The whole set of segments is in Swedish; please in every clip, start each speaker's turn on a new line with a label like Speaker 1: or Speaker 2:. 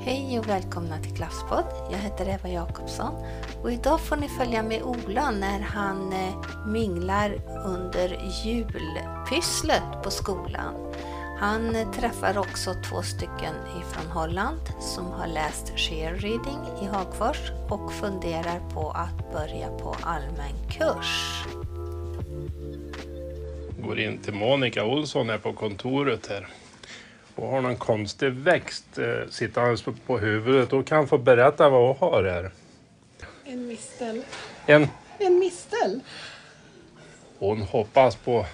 Speaker 1: Hej och välkomna till Klaffspodd. Jag heter Eva Jakobsson och idag får ni följa med Ola när han eh, minglar under julpysslet på skolan. Han eh, träffar också två stycken ifrån Holland som har läst Share Reading i Hagfors och funderar på att börja på allmän kurs.
Speaker 2: går in till Monica Olsson här på kontoret här. Och har någon konstig växt eh, sittandes på, på huvudet. Och kan få berätta vad hon har här.
Speaker 3: En mistel.
Speaker 2: En,
Speaker 3: En mistel?
Speaker 2: hon hoppas på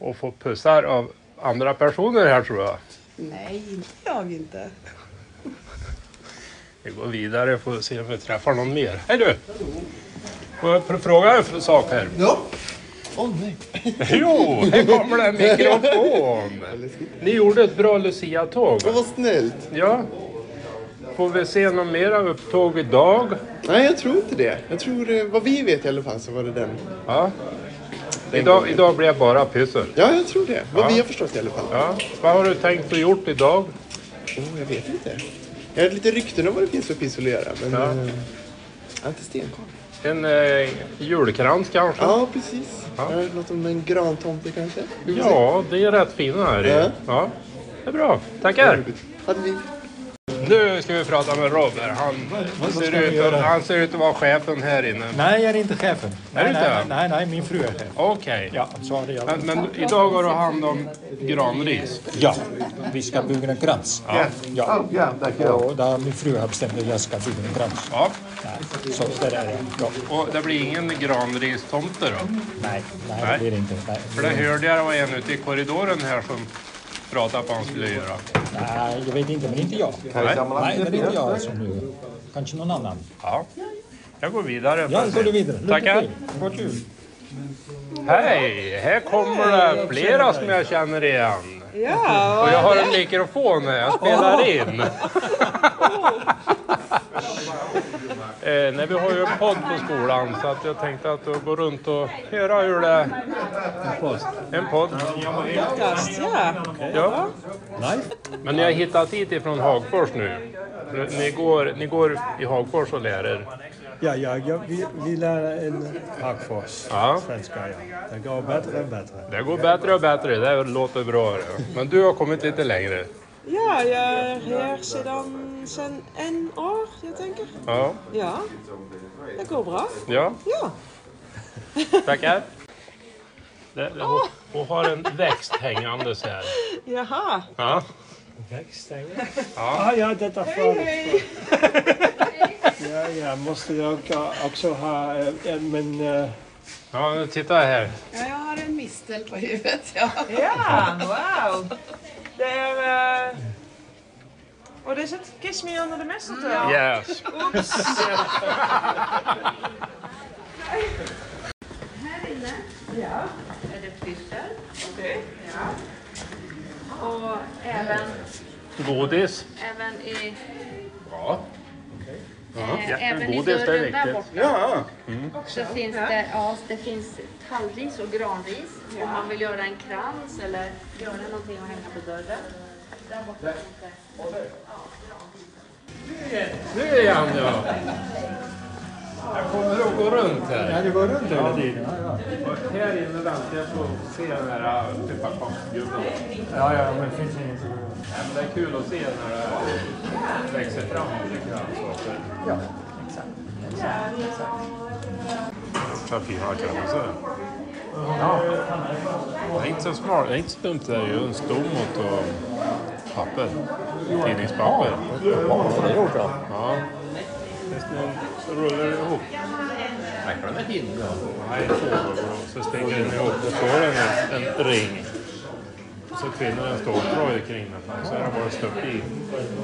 Speaker 2: att få pussar av andra personer här tror jag.
Speaker 3: Nej, inte jag inte.
Speaker 2: Vi går vidare får se om vi träffar någon mer. Hej du! Får jag pr- fråga en sak här?
Speaker 4: Ja. Åh nej.
Speaker 2: Jo, här kommer det en mikrofon! Ni gjorde ett bra Lucia-tåg.
Speaker 4: Åh, vad snällt.
Speaker 2: Ja. Får vi se några mera upptåg idag?
Speaker 4: Nej, jag tror inte det. Jag tror, eh, vad vi vet i alla fall så var det den.
Speaker 2: Ja.
Speaker 4: Den
Speaker 2: Idag,
Speaker 4: gången.
Speaker 2: idag blir jag bara pyssel.
Speaker 4: Ja, jag tror det. Vad
Speaker 2: Ja.
Speaker 4: vi har förstått i alla fall.
Speaker 2: Ja. Vad har du tänkt och gjort idag?
Speaker 4: Åh, jag vet inte. Jag hade lite rykten om vad det finns för pissel att göra, men...
Speaker 2: Ja.
Speaker 4: eh, Jag har inte stenkoll.
Speaker 2: En eh, julkrans kanske?
Speaker 4: Ja, precis.
Speaker 2: Ja.
Speaker 4: Jag hörde något om en grantomte kanske. Vi får se.
Speaker 2: Ja, det är rätt fina här.
Speaker 4: Ja.
Speaker 2: Ja. Det är bra. Tackar.
Speaker 4: Hade vi...
Speaker 2: Nu ska vi prata med Rob här. Han,
Speaker 5: vad ska
Speaker 2: ser
Speaker 5: vi
Speaker 2: ut,
Speaker 5: göra?
Speaker 2: att- han ser ut att vara chefen här inne.
Speaker 5: Nej, jag är inte chefen.
Speaker 2: Är du
Speaker 5: nej,
Speaker 2: inte?
Speaker 5: nej, nej, nej, min fru är chef.
Speaker 2: Okej.
Speaker 5: Ja, så är det jag.
Speaker 2: Men, men idag har du hand om granris.
Speaker 5: Ah, Ja, vi ska bygga en krans.
Speaker 2: Ja.
Speaker 5: Ja, Oh, och där min fru har bestämt att jag ska bygga en krans.
Speaker 2: ja.
Speaker 5: Ja, Så där är det. Ja.
Speaker 2: Och det blir ingen granristomte då?
Speaker 5: Nej, nej,
Speaker 2: Nej.
Speaker 5: det blir det inte. Nej,
Speaker 2: För det hörde jag det var en ute i korridoren här som pratade på vad han skulle göra.
Speaker 5: nej, jag vet inte, men inte jag.
Speaker 2: Nej.
Speaker 5: Nej, det är inte jag som nu. Kanske någon annan.
Speaker 2: Ja. Jag går vidare.
Speaker 5: Ja, går du vidare. Lycka
Speaker 2: Tackar.
Speaker 5: till. God jul.
Speaker 2: Hej! Här kommer det flera som jag känner igen.
Speaker 3: Ja,
Speaker 2: Och jag har en mikrofon här, jag spelar in. eh, nej, vi har ju en podd på skolan så att jag tänkte att jag går runt och höra hur det... En podd.
Speaker 3: podcast, ja.
Speaker 2: Ja.
Speaker 5: Nej,
Speaker 2: Men ni har hittat hit ifrån Hagfors nu. Ni går, ni går i Hagfors och lär er.
Speaker 6: Ja, ja, ja vi, vi lär en Hagfors.
Speaker 2: Ja.
Speaker 6: Svenska, ja. Det går bättre och bättre.
Speaker 2: Det går bättre och bättre, det låter bra. det. Men du har kommit lite längre.
Speaker 3: Ja, jag är här sedan, sedan en år, jag tänker.
Speaker 2: Ja,
Speaker 3: Ja, det går bra.
Speaker 2: ja.
Speaker 3: Ja.
Speaker 2: Tackar. Det, det, hon, hon har en växt hängandes här.
Speaker 3: Jaha.
Speaker 2: Ja.
Speaker 6: Ah, ja, detta för... Ja, ja, måste jag eh, också ha eh, en, men... eh,
Speaker 2: ja, nu titta här.
Speaker 7: Ja, jag har en mistel på huvudet. Ja.
Speaker 3: Ja, wow. Det är... eh, Och det zit Kiss Me Under the Mistletoe.
Speaker 2: Yes.
Speaker 7: Här inne är det pyssel
Speaker 3: Okej.
Speaker 7: och även,
Speaker 2: Godis.
Speaker 7: även i,
Speaker 2: Ja.
Speaker 7: eh,
Speaker 2: Ja,
Speaker 7: även i
Speaker 2: godis, det är
Speaker 7: dörren där
Speaker 2: viktigt.
Speaker 7: borta så finns det, ja, det finns tallris och granris om man vill göra en krans eller göra någonting och hänga på dörren. Där borta finns det.
Speaker 2: Nu är han ja. Jag kommer att gå runt här.
Speaker 5: ja, det går runt hela tiden. Ja,
Speaker 2: Och här inne väntar jag på att se den här äh, pepparkaksgubben. Nej,
Speaker 5: ja, ja men det finns inget.
Speaker 2: men Det är kul att se när det växer fram olika saker.
Speaker 5: Ja.
Speaker 2: Vad fina kransar. Det är inte så smart. Det är inte så dumt. Det är ju en stomot och papper. Tidningspapper.
Speaker 5: Vad har du gjort då?
Speaker 2: Ja. Fast nu rullar det ihop. Nej, så går det. så springer den ihop och får en, en ring. Och så kvinnorna en ståltråd kring den. Så är det bara stuck i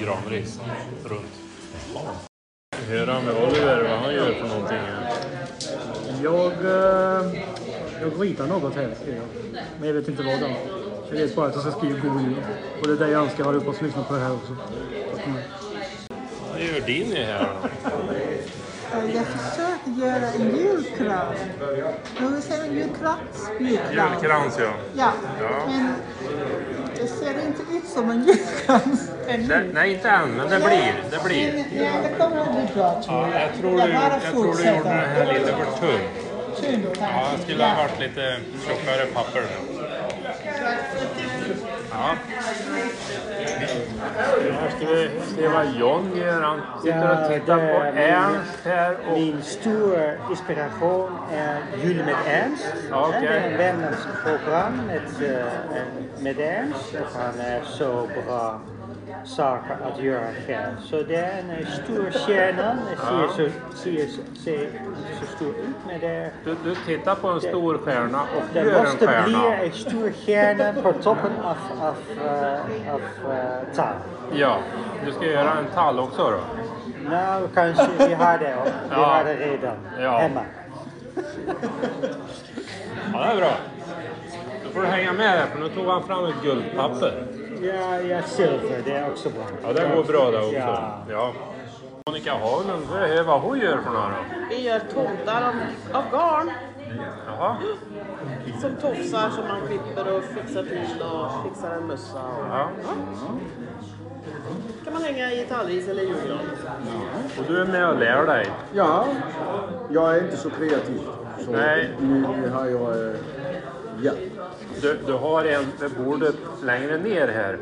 Speaker 2: granris runt. Höra med Oliver vad han gör för någonting. här.
Speaker 8: Jag, eh, jag ritar något här, ser jag. men jag vet inte vad det är. Jag vet bara att jag ska skriva god jul. Och det är det jag önskar alla uppe som lyssnar på det här också. Mm.
Speaker 2: Vad gör din i här då?
Speaker 9: Jag försökte göra en julkran. Nu säger en julkrans?
Speaker 2: Julkrans ja.
Speaker 9: Ja,
Speaker 2: Ja.
Speaker 9: men det ser inte ut som en julkrans. för
Speaker 2: Det,
Speaker 9: nu.
Speaker 2: nej, inte än, men det blir. Det blir.
Speaker 9: Nej, det kommer att bli
Speaker 10: Ah,
Speaker 9: bra tror
Speaker 2: Ja,
Speaker 9: jag.
Speaker 2: jag tror du,
Speaker 9: bara
Speaker 2: jag tror du gjorde
Speaker 9: fortsätter.
Speaker 2: den här lite för tunn.
Speaker 9: Tunn
Speaker 2: Ja,
Speaker 10: Ah,
Speaker 9: tanke.
Speaker 2: jag skulle ha varit lite tjockare papper nu. Ja. Här ska vi se vad John gör. Han sitter och tittar på Ernst här. Och,
Speaker 6: Min stora inspiration är Jul med Ernst.
Speaker 2: Ja, okej.
Speaker 6: Det är en vänländsk program med, eh, en- med Ernst. Och han är så eh, bra saker att göra själv. Så det är en eh, stor stjärna. Det ser, så, ser, så- ser inte så stor ut men det är
Speaker 2: du, du tittar på en stor stjärna och
Speaker 6: Det
Speaker 2: gör en
Speaker 6: måste bli
Speaker 2: stjärna.
Speaker 6: en stor stjärna på toppen av, av, eh, av eh, tall.
Speaker 2: Ja, du ska göra en tall också då.
Speaker 6: Nou, kanske vi har det, vi
Speaker 2: Ja.
Speaker 6: har det redan
Speaker 2: Ja.
Speaker 6: hemma.
Speaker 2: Ja, det är bra. Då får du hänga med här, för nu tog han fram ett guldpapper.
Speaker 6: Ja, ja, silver, det är också bra.
Speaker 2: Ja, det går bra det också.
Speaker 6: Ja.
Speaker 2: Ja. Monica Haglund, får jag höra vad hon gör för något då?
Speaker 11: Vi gör tomtar av, av garn
Speaker 2: Jaha.
Speaker 11: som tofsar som man klipper och fixar till och fixar en mössa. Och,
Speaker 2: Ja.
Speaker 11: kan man hänga i tallris eller julgran.
Speaker 2: Och du är med och lär dig.
Speaker 10: Ja, jag är inte så kreativ. Så
Speaker 2: Nej.
Speaker 10: Nu har jag... eh, Ja.
Speaker 2: Du, du har en vid bordet längre ner här.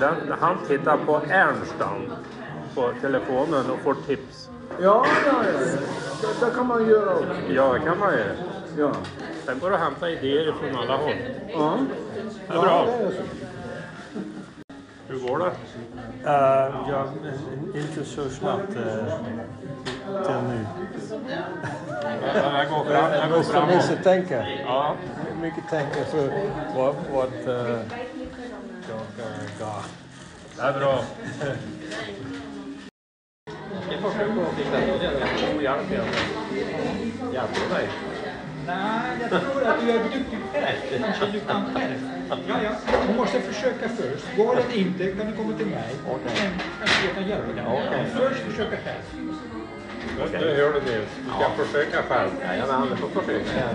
Speaker 2: Den, han tittar på Ernst han, på telefonen och får tips.
Speaker 10: Ja, ja, ja. Det, det kan man göra också.
Speaker 2: Ja, det kan man ju.
Speaker 10: Ja.
Speaker 2: Sen går det att hämta idéer från alla håll.
Speaker 10: Ja.
Speaker 2: Det är bra.
Speaker 10: Ja, det är så.
Speaker 2: Hur går det?
Speaker 12: Eh, ja, men inte så snabbt eh, till nu.
Speaker 2: Det går fram, det
Speaker 12: Jag
Speaker 2: går
Speaker 12: måste
Speaker 2: framåt.
Speaker 12: mycket tänka.
Speaker 2: Ja.
Speaker 12: Mycket tänka för vad, vad eh, jag eh, gav.
Speaker 2: Det är bra.
Speaker 13: Det är första gången jag fick den och det är en god hjälp egentligen. Hjälpte mig.
Speaker 14: Nej, jag tror att du är duktig själv. Kanske du kan själv. Ja, ja. Du måste försöka först. Går det inte kan du komma till mig. Sen kanske jag kan hjälpa dig.
Speaker 13: Okej.
Speaker 14: Först försöka själv.
Speaker 2: Nu nu hör du Nils. Du ska försöka själv.
Speaker 13: Jajamän, du får försöka.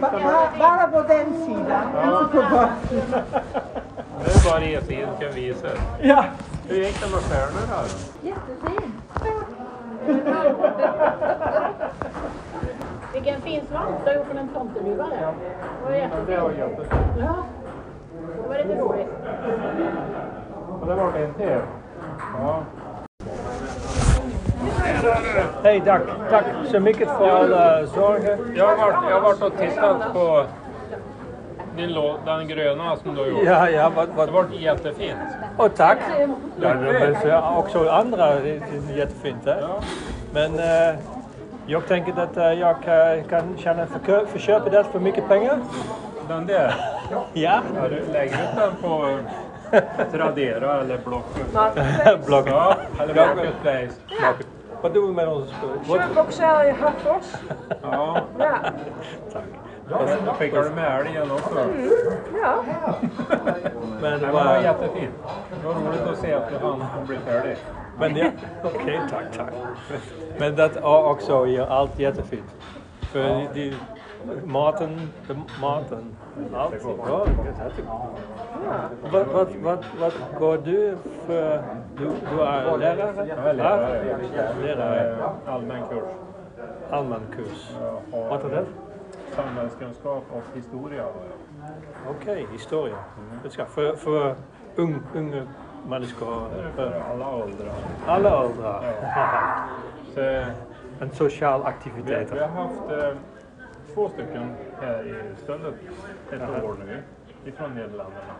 Speaker 9: Bara, bara på den sidan. Inte på baksidan.
Speaker 2: Det är bara E10 kan visa. Ja. Hur gick det med stjärnorna då?
Speaker 15: Jättefin! Vilken fin svans du har gjort från en tomteluva där. Det var jättefint. Ja, det var lite roligt.
Speaker 2: Och där var det en till.
Speaker 12: Ja. Hej, tack. Tack så mycket för alla
Speaker 6: eh,
Speaker 12: sorger.
Speaker 2: Jag har varit, jag har varit och tittat på din låt, den gröna som du har gjort.
Speaker 12: Ja, ja, vad,
Speaker 2: Det har varit jättefint.
Speaker 12: Och tack. Oh, Ja, men för också andra det är jättefint. Hè? Men eh, jag tänker att eh, jag eh, kan tjäna förkö- förköpa det för mycket pengar.
Speaker 2: Den där?
Speaker 12: Ja.
Speaker 2: Ja, du lägger ut den på Tradera eller Blocket.
Speaker 12: Blocket.
Speaker 2: Ja, eller Marketplace.
Speaker 12: Vad doen we met onze spullen?
Speaker 16: Zullen we ook zelf in Hartfors?
Speaker 2: Ja.
Speaker 16: Ja.
Speaker 2: Då skickar du med älgen också.
Speaker 16: Ja.
Speaker 2: Men det
Speaker 12: eh,
Speaker 2: var jättefint. Det var roligt att se att han blir färdig.
Speaker 12: Men ja, okej, tack, tack. Men dat o- också gör allt jättefint. För die maten, de maten, allt är bra. Wat, wat, wat, wat går du för, du, du är lärare?
Speaker 2: Jag är lärare.
Speaker 12: Ja, lärare.
Speaker 2: Eh, Allmän kurs.
Speaker 12: Allmän kurs. Vad är det?
Speaker 2: Samhällskunskap och historia har jag.
Speaker 12: Okej, historia.
Speaker 2: Mm.
Speaker 12: Det ska, för, för ung, unga människor. För
Speaker 2: alla åldrar.
Speaker 12: Alla åldrar.
Speaker 2: Ja. Så,
Speaker 12: En social
Speaker 2: Vi,
Speaker 12: aktivitet.
Speaker 2: vi har haft eh, två stycken här i stället ett
Speaker 12: Jaha.
Speaker 2: år nu, ifrån Nederländerna.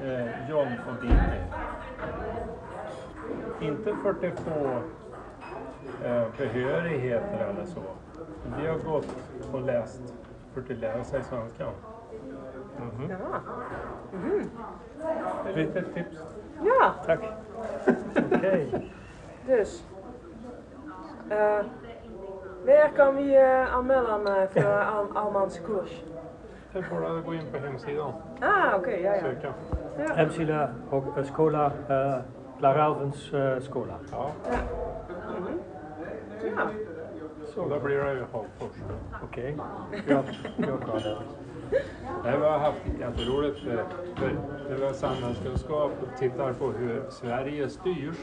Speaker 2: Eh, John och Dini. Inte för att det får eh, behörigheter eller så. Men de har gått och läst för att lära sig svenska. Mm.
Speaker 14: Ja. Mhm.
Speaker 2: Ett litet tips.
Speaker 14: Ja,
Speaker 12: Tack. Okej.
Speaker 14: dus. Eh waar kan we eh, aanmelden eh, voor een Al Almaanse koers?
Speaker 2: Sen får du gå in på hemsidan.
Speaker 14: Ah, oké, ja, ja.
Speaker 2: Söka.
Speaker 14: ja.
Speaker 12: Hemsila och skola, eh, Laralvens eh, skola.
Speaker 2: Ja.
Speaker 14: Mhm. Ja.
Speaker 2: Så då blir det ju Hagfors.
Speaker 12: Okej. Ja, jag har det.
Speaker 2: Nej, vi har haft jätteroligt för, för när vi har samhällskunskap och tittar på hur Sverige styrs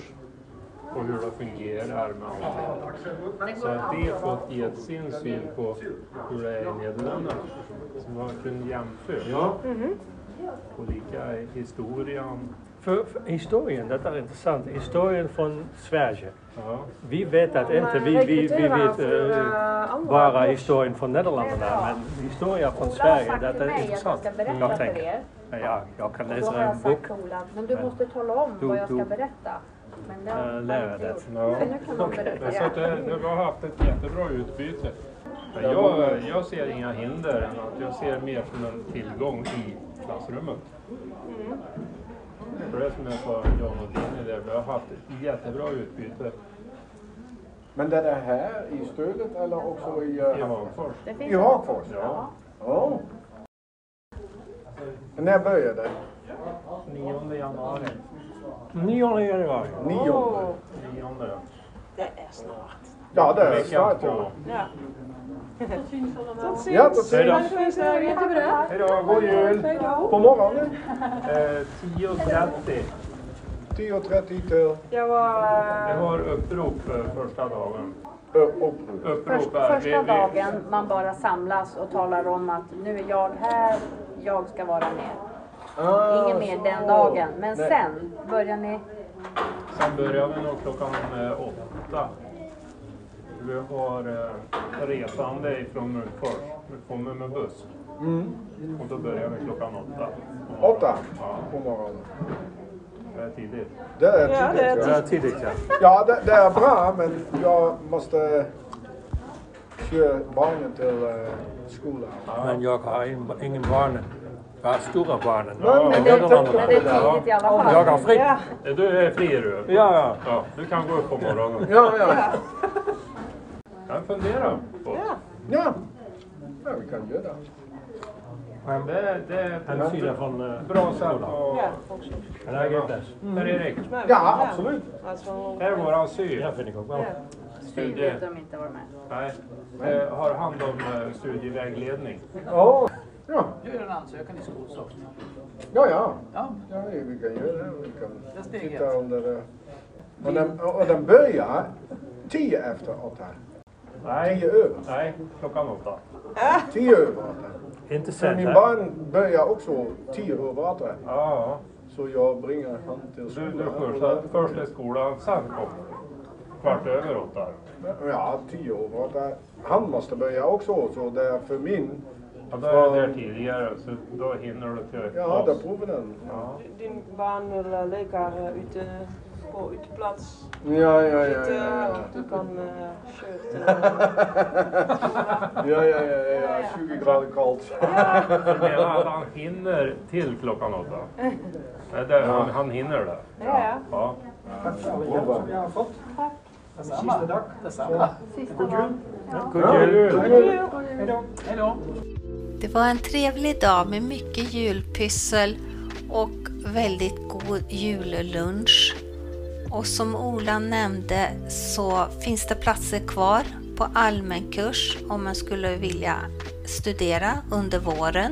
Speaker 2: och hur det fungerar med allting. Så att det har fått gett sin syn på hur det är i Nederländerna. Så man kunde jämföra olika historien.
Speaker 6: För, för historien, det är intressant. Historien från Sverige. Vi vet att inte, vi, vi, vi vet eh, bara historien från Nederländerna, men historia från Sverige, det är intressant. Jag tänker, ja, jag kan
Speaker 7: Och då har
Speaker 6: läsa
Speaker 7: jag
Speaker 6: en bok,
Speaker 7: sagt Ola, men du måste tala om
Speaker 6: Du-
Speaker 7: vad jag ska
Speaker 6: du-
Speaker 7: berätta. Men det har
Speaker 6: eh,
Speaker 7: man
Speaker 6: lära
Speaker 7: inte
Speaker 6: det.
Speaker 7: gjort.
Speaker 2: Ja.
Speaker 7: Men nu kan man berätta.
Speaker 2: Så att det, det har haft ett jättebra utbyte. Men Jag, jag ser inga hinder, än att jag ser mer som en tillgång i klassrummet.
Speaker 7: Mm.
Speaker 2: För det är som jag sa, John och Dini, där, vi har haft ett jättebra utbyte.
Speaker 10: Men det är det här i stödet eller också i... eh,
Speaker 2: I Hagfors.
Speaker 10: I
Speaker 7: Det
Speaker 10: Hagfors?
Speaker 7: finns-
Speaker 10: Ja. ja. När började det?
Speaker 2: 9 januari.
Speaker 6: 9 januari.
Speaker 10: Nionde.
Speaker 2: Nionde, ja.
Speaker 3: Det är snart.
Speaker 10: Ja, det är
Speaker 2: Veckan
Speaker 10: snart.
Speaker 2: två.
Speaker 3: Ja. Tot ziens.
Speaker 10: Ja, tot
Speaker 2: Hej då.
Speaker 3: Tack för idag.
Speaker 7: Jättebra.
Speaker 2: Hej då, god jul!
Speaker 3: Hej då.
Speaker 10: På morgonen?
Speaker 2: Eh, 10.30.
Speaker 10: 10.30 till...
Speaker 3: Jag var...
Speaker 2: Vi har upprop eh, första dagen.
Speaker 10: Upprop?
Speaker 7: Först,
Speaker 2: Upprop är...
Speaker 7: första
Speaker 2: vi- vi-
Speaker 7: dagen man bara samlas och talar om att nu är jag här, jag ska vara med.
Speaker 10: Ah,
Speaker 7: Ingen mer den
Speaker 10: så.
Speaker 7: dagen. Men
Speaker 2: Nej.
Speaker 7: sen börjar ni...
Speaker 2: Sen börjar vi nog klockan eh, åtta. Vi har eh, resande ifrån Munkfors. Vi kommer med buss.
Speaker 10: Mm.
Speaker 2: Och då börjar vi klockan åtta.
Speaker 10: Åtta på morgonen.
Speaker 2: Det är tidigt.
Speaker 10: Det är tidigt.
Speaker 2: Det är tidigt, ja.
Speaker 10: Ja, det, det är bra, men jag måste köra barnen till eh, skolan.
Speaker 6: Men jag har ingen- ingen barnen. Jag har stora barnen.
Speaker 10: Ja, men det är- men det är tidigt i alla fall.
Speaker 6: Jag har fri.
Speaker 10: Ja.
Speaker 2: Eh, Du är fri du.
Speaker 6: Ja,
Speaker 2: ja. Du kan gå upp på morgonen.
Speaker 10: Ja, ja.
Speaker 2: Jag funderar på.
Speaker 10: Ja, ja vi kan göra det.
Speaker 2: Men det, det är
Speaker 6: En
Speaker 2: ett
Speaker 6: sida från, eh,
Speaker 2: bra sätt att...
Speaker 3: Ja, också.
Speaker 2: Men det är grymt. Per-Erik.
Speaker 10: Ja, absolut.
Speaker 2: Här är våran syn. Jag
Speaker 6: finner också
Speaker 3: Ja.
Speaker 7: Fy vet de inte var med.
Speaker 2: Nej, eh, har hand om eh, studievägledning.
Speaker 10: Ja. Ja.
Speaker 3: Gör en ansökan i Skolsoft.
Speaker 10: Ja, ja. ja. vi kan göra det. Vi kan titta om det är... Och den, och den börjar tio efter åtta.
Speaker 2: Nej.
Speaker 10: Tio över.
Speaker 2: Nej, klockan åtta.
Speaker 10: Tio över åtta.
Speaker 6: Intressant,
Speaker 10: För min
Speaker 6: hè?
Speaker 10: barn börjar också tio över åtta.
Speaker 2: Ja.
Speaker 10: Så jag bringar honom till
Speaker 2: Du,
Speaker 10: skolan.
Speaker 2: du första, först är skolan, sen kom kvart över åtta.
Speaker 10: Ja, tio över åtta. Han måste börja också, så det är för min...
Speaker 2: Ja, då är det där tidigare, så då hinner du till
Speaker 10: Ja,
Speaker 2: oss.
Speaker 10: där provar den.
Speaker 2: Ja.
Speaker 3: Din baan wil eh, lekker eh, uit de, voor uit de plaats
Speaker 10: Ja, ja, ja,
Speaker 3: zitten.
Speaker 10: ja, ja.
Speaker 3: of Je kan eh shirt.
Speaker 10: Ja, ja, ja, ja, ja. 20 grader kallt.
Speaker 2: Jag menar att han hinner till klockan åtta. Nej, det, han, han hinner det.
Speaker 3: Ja, ja.
Speaker 2: Ja.
Speaker 17: Jag har fått.
Speaker 3: Detsamma.
Speaker 17: Sista dag.
Speaker 3: Detsamma.
Speaker 17: God jul.
Speaker 2: God jul!
Speaker 17: God jul. Hej då. Hej då.
Speaker 1: Det var en trevlig dag med mycket julpyssel och väldigt god jullunch. Och som Ola nämnde så finns det platser kvar på allmän kurs om man skulle vilja studera under våren.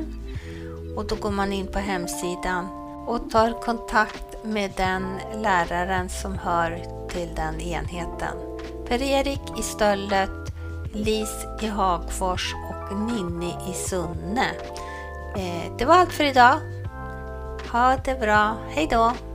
Speaker 1: Och då går man in på hemsidan och tar kontakt med den läraren som hör till den enheten. Per-Erik i Stöllet, Lis i Hagfors och Ninni i Sunne. Eh, Det var allt för idag. Ha det bra. Hej då!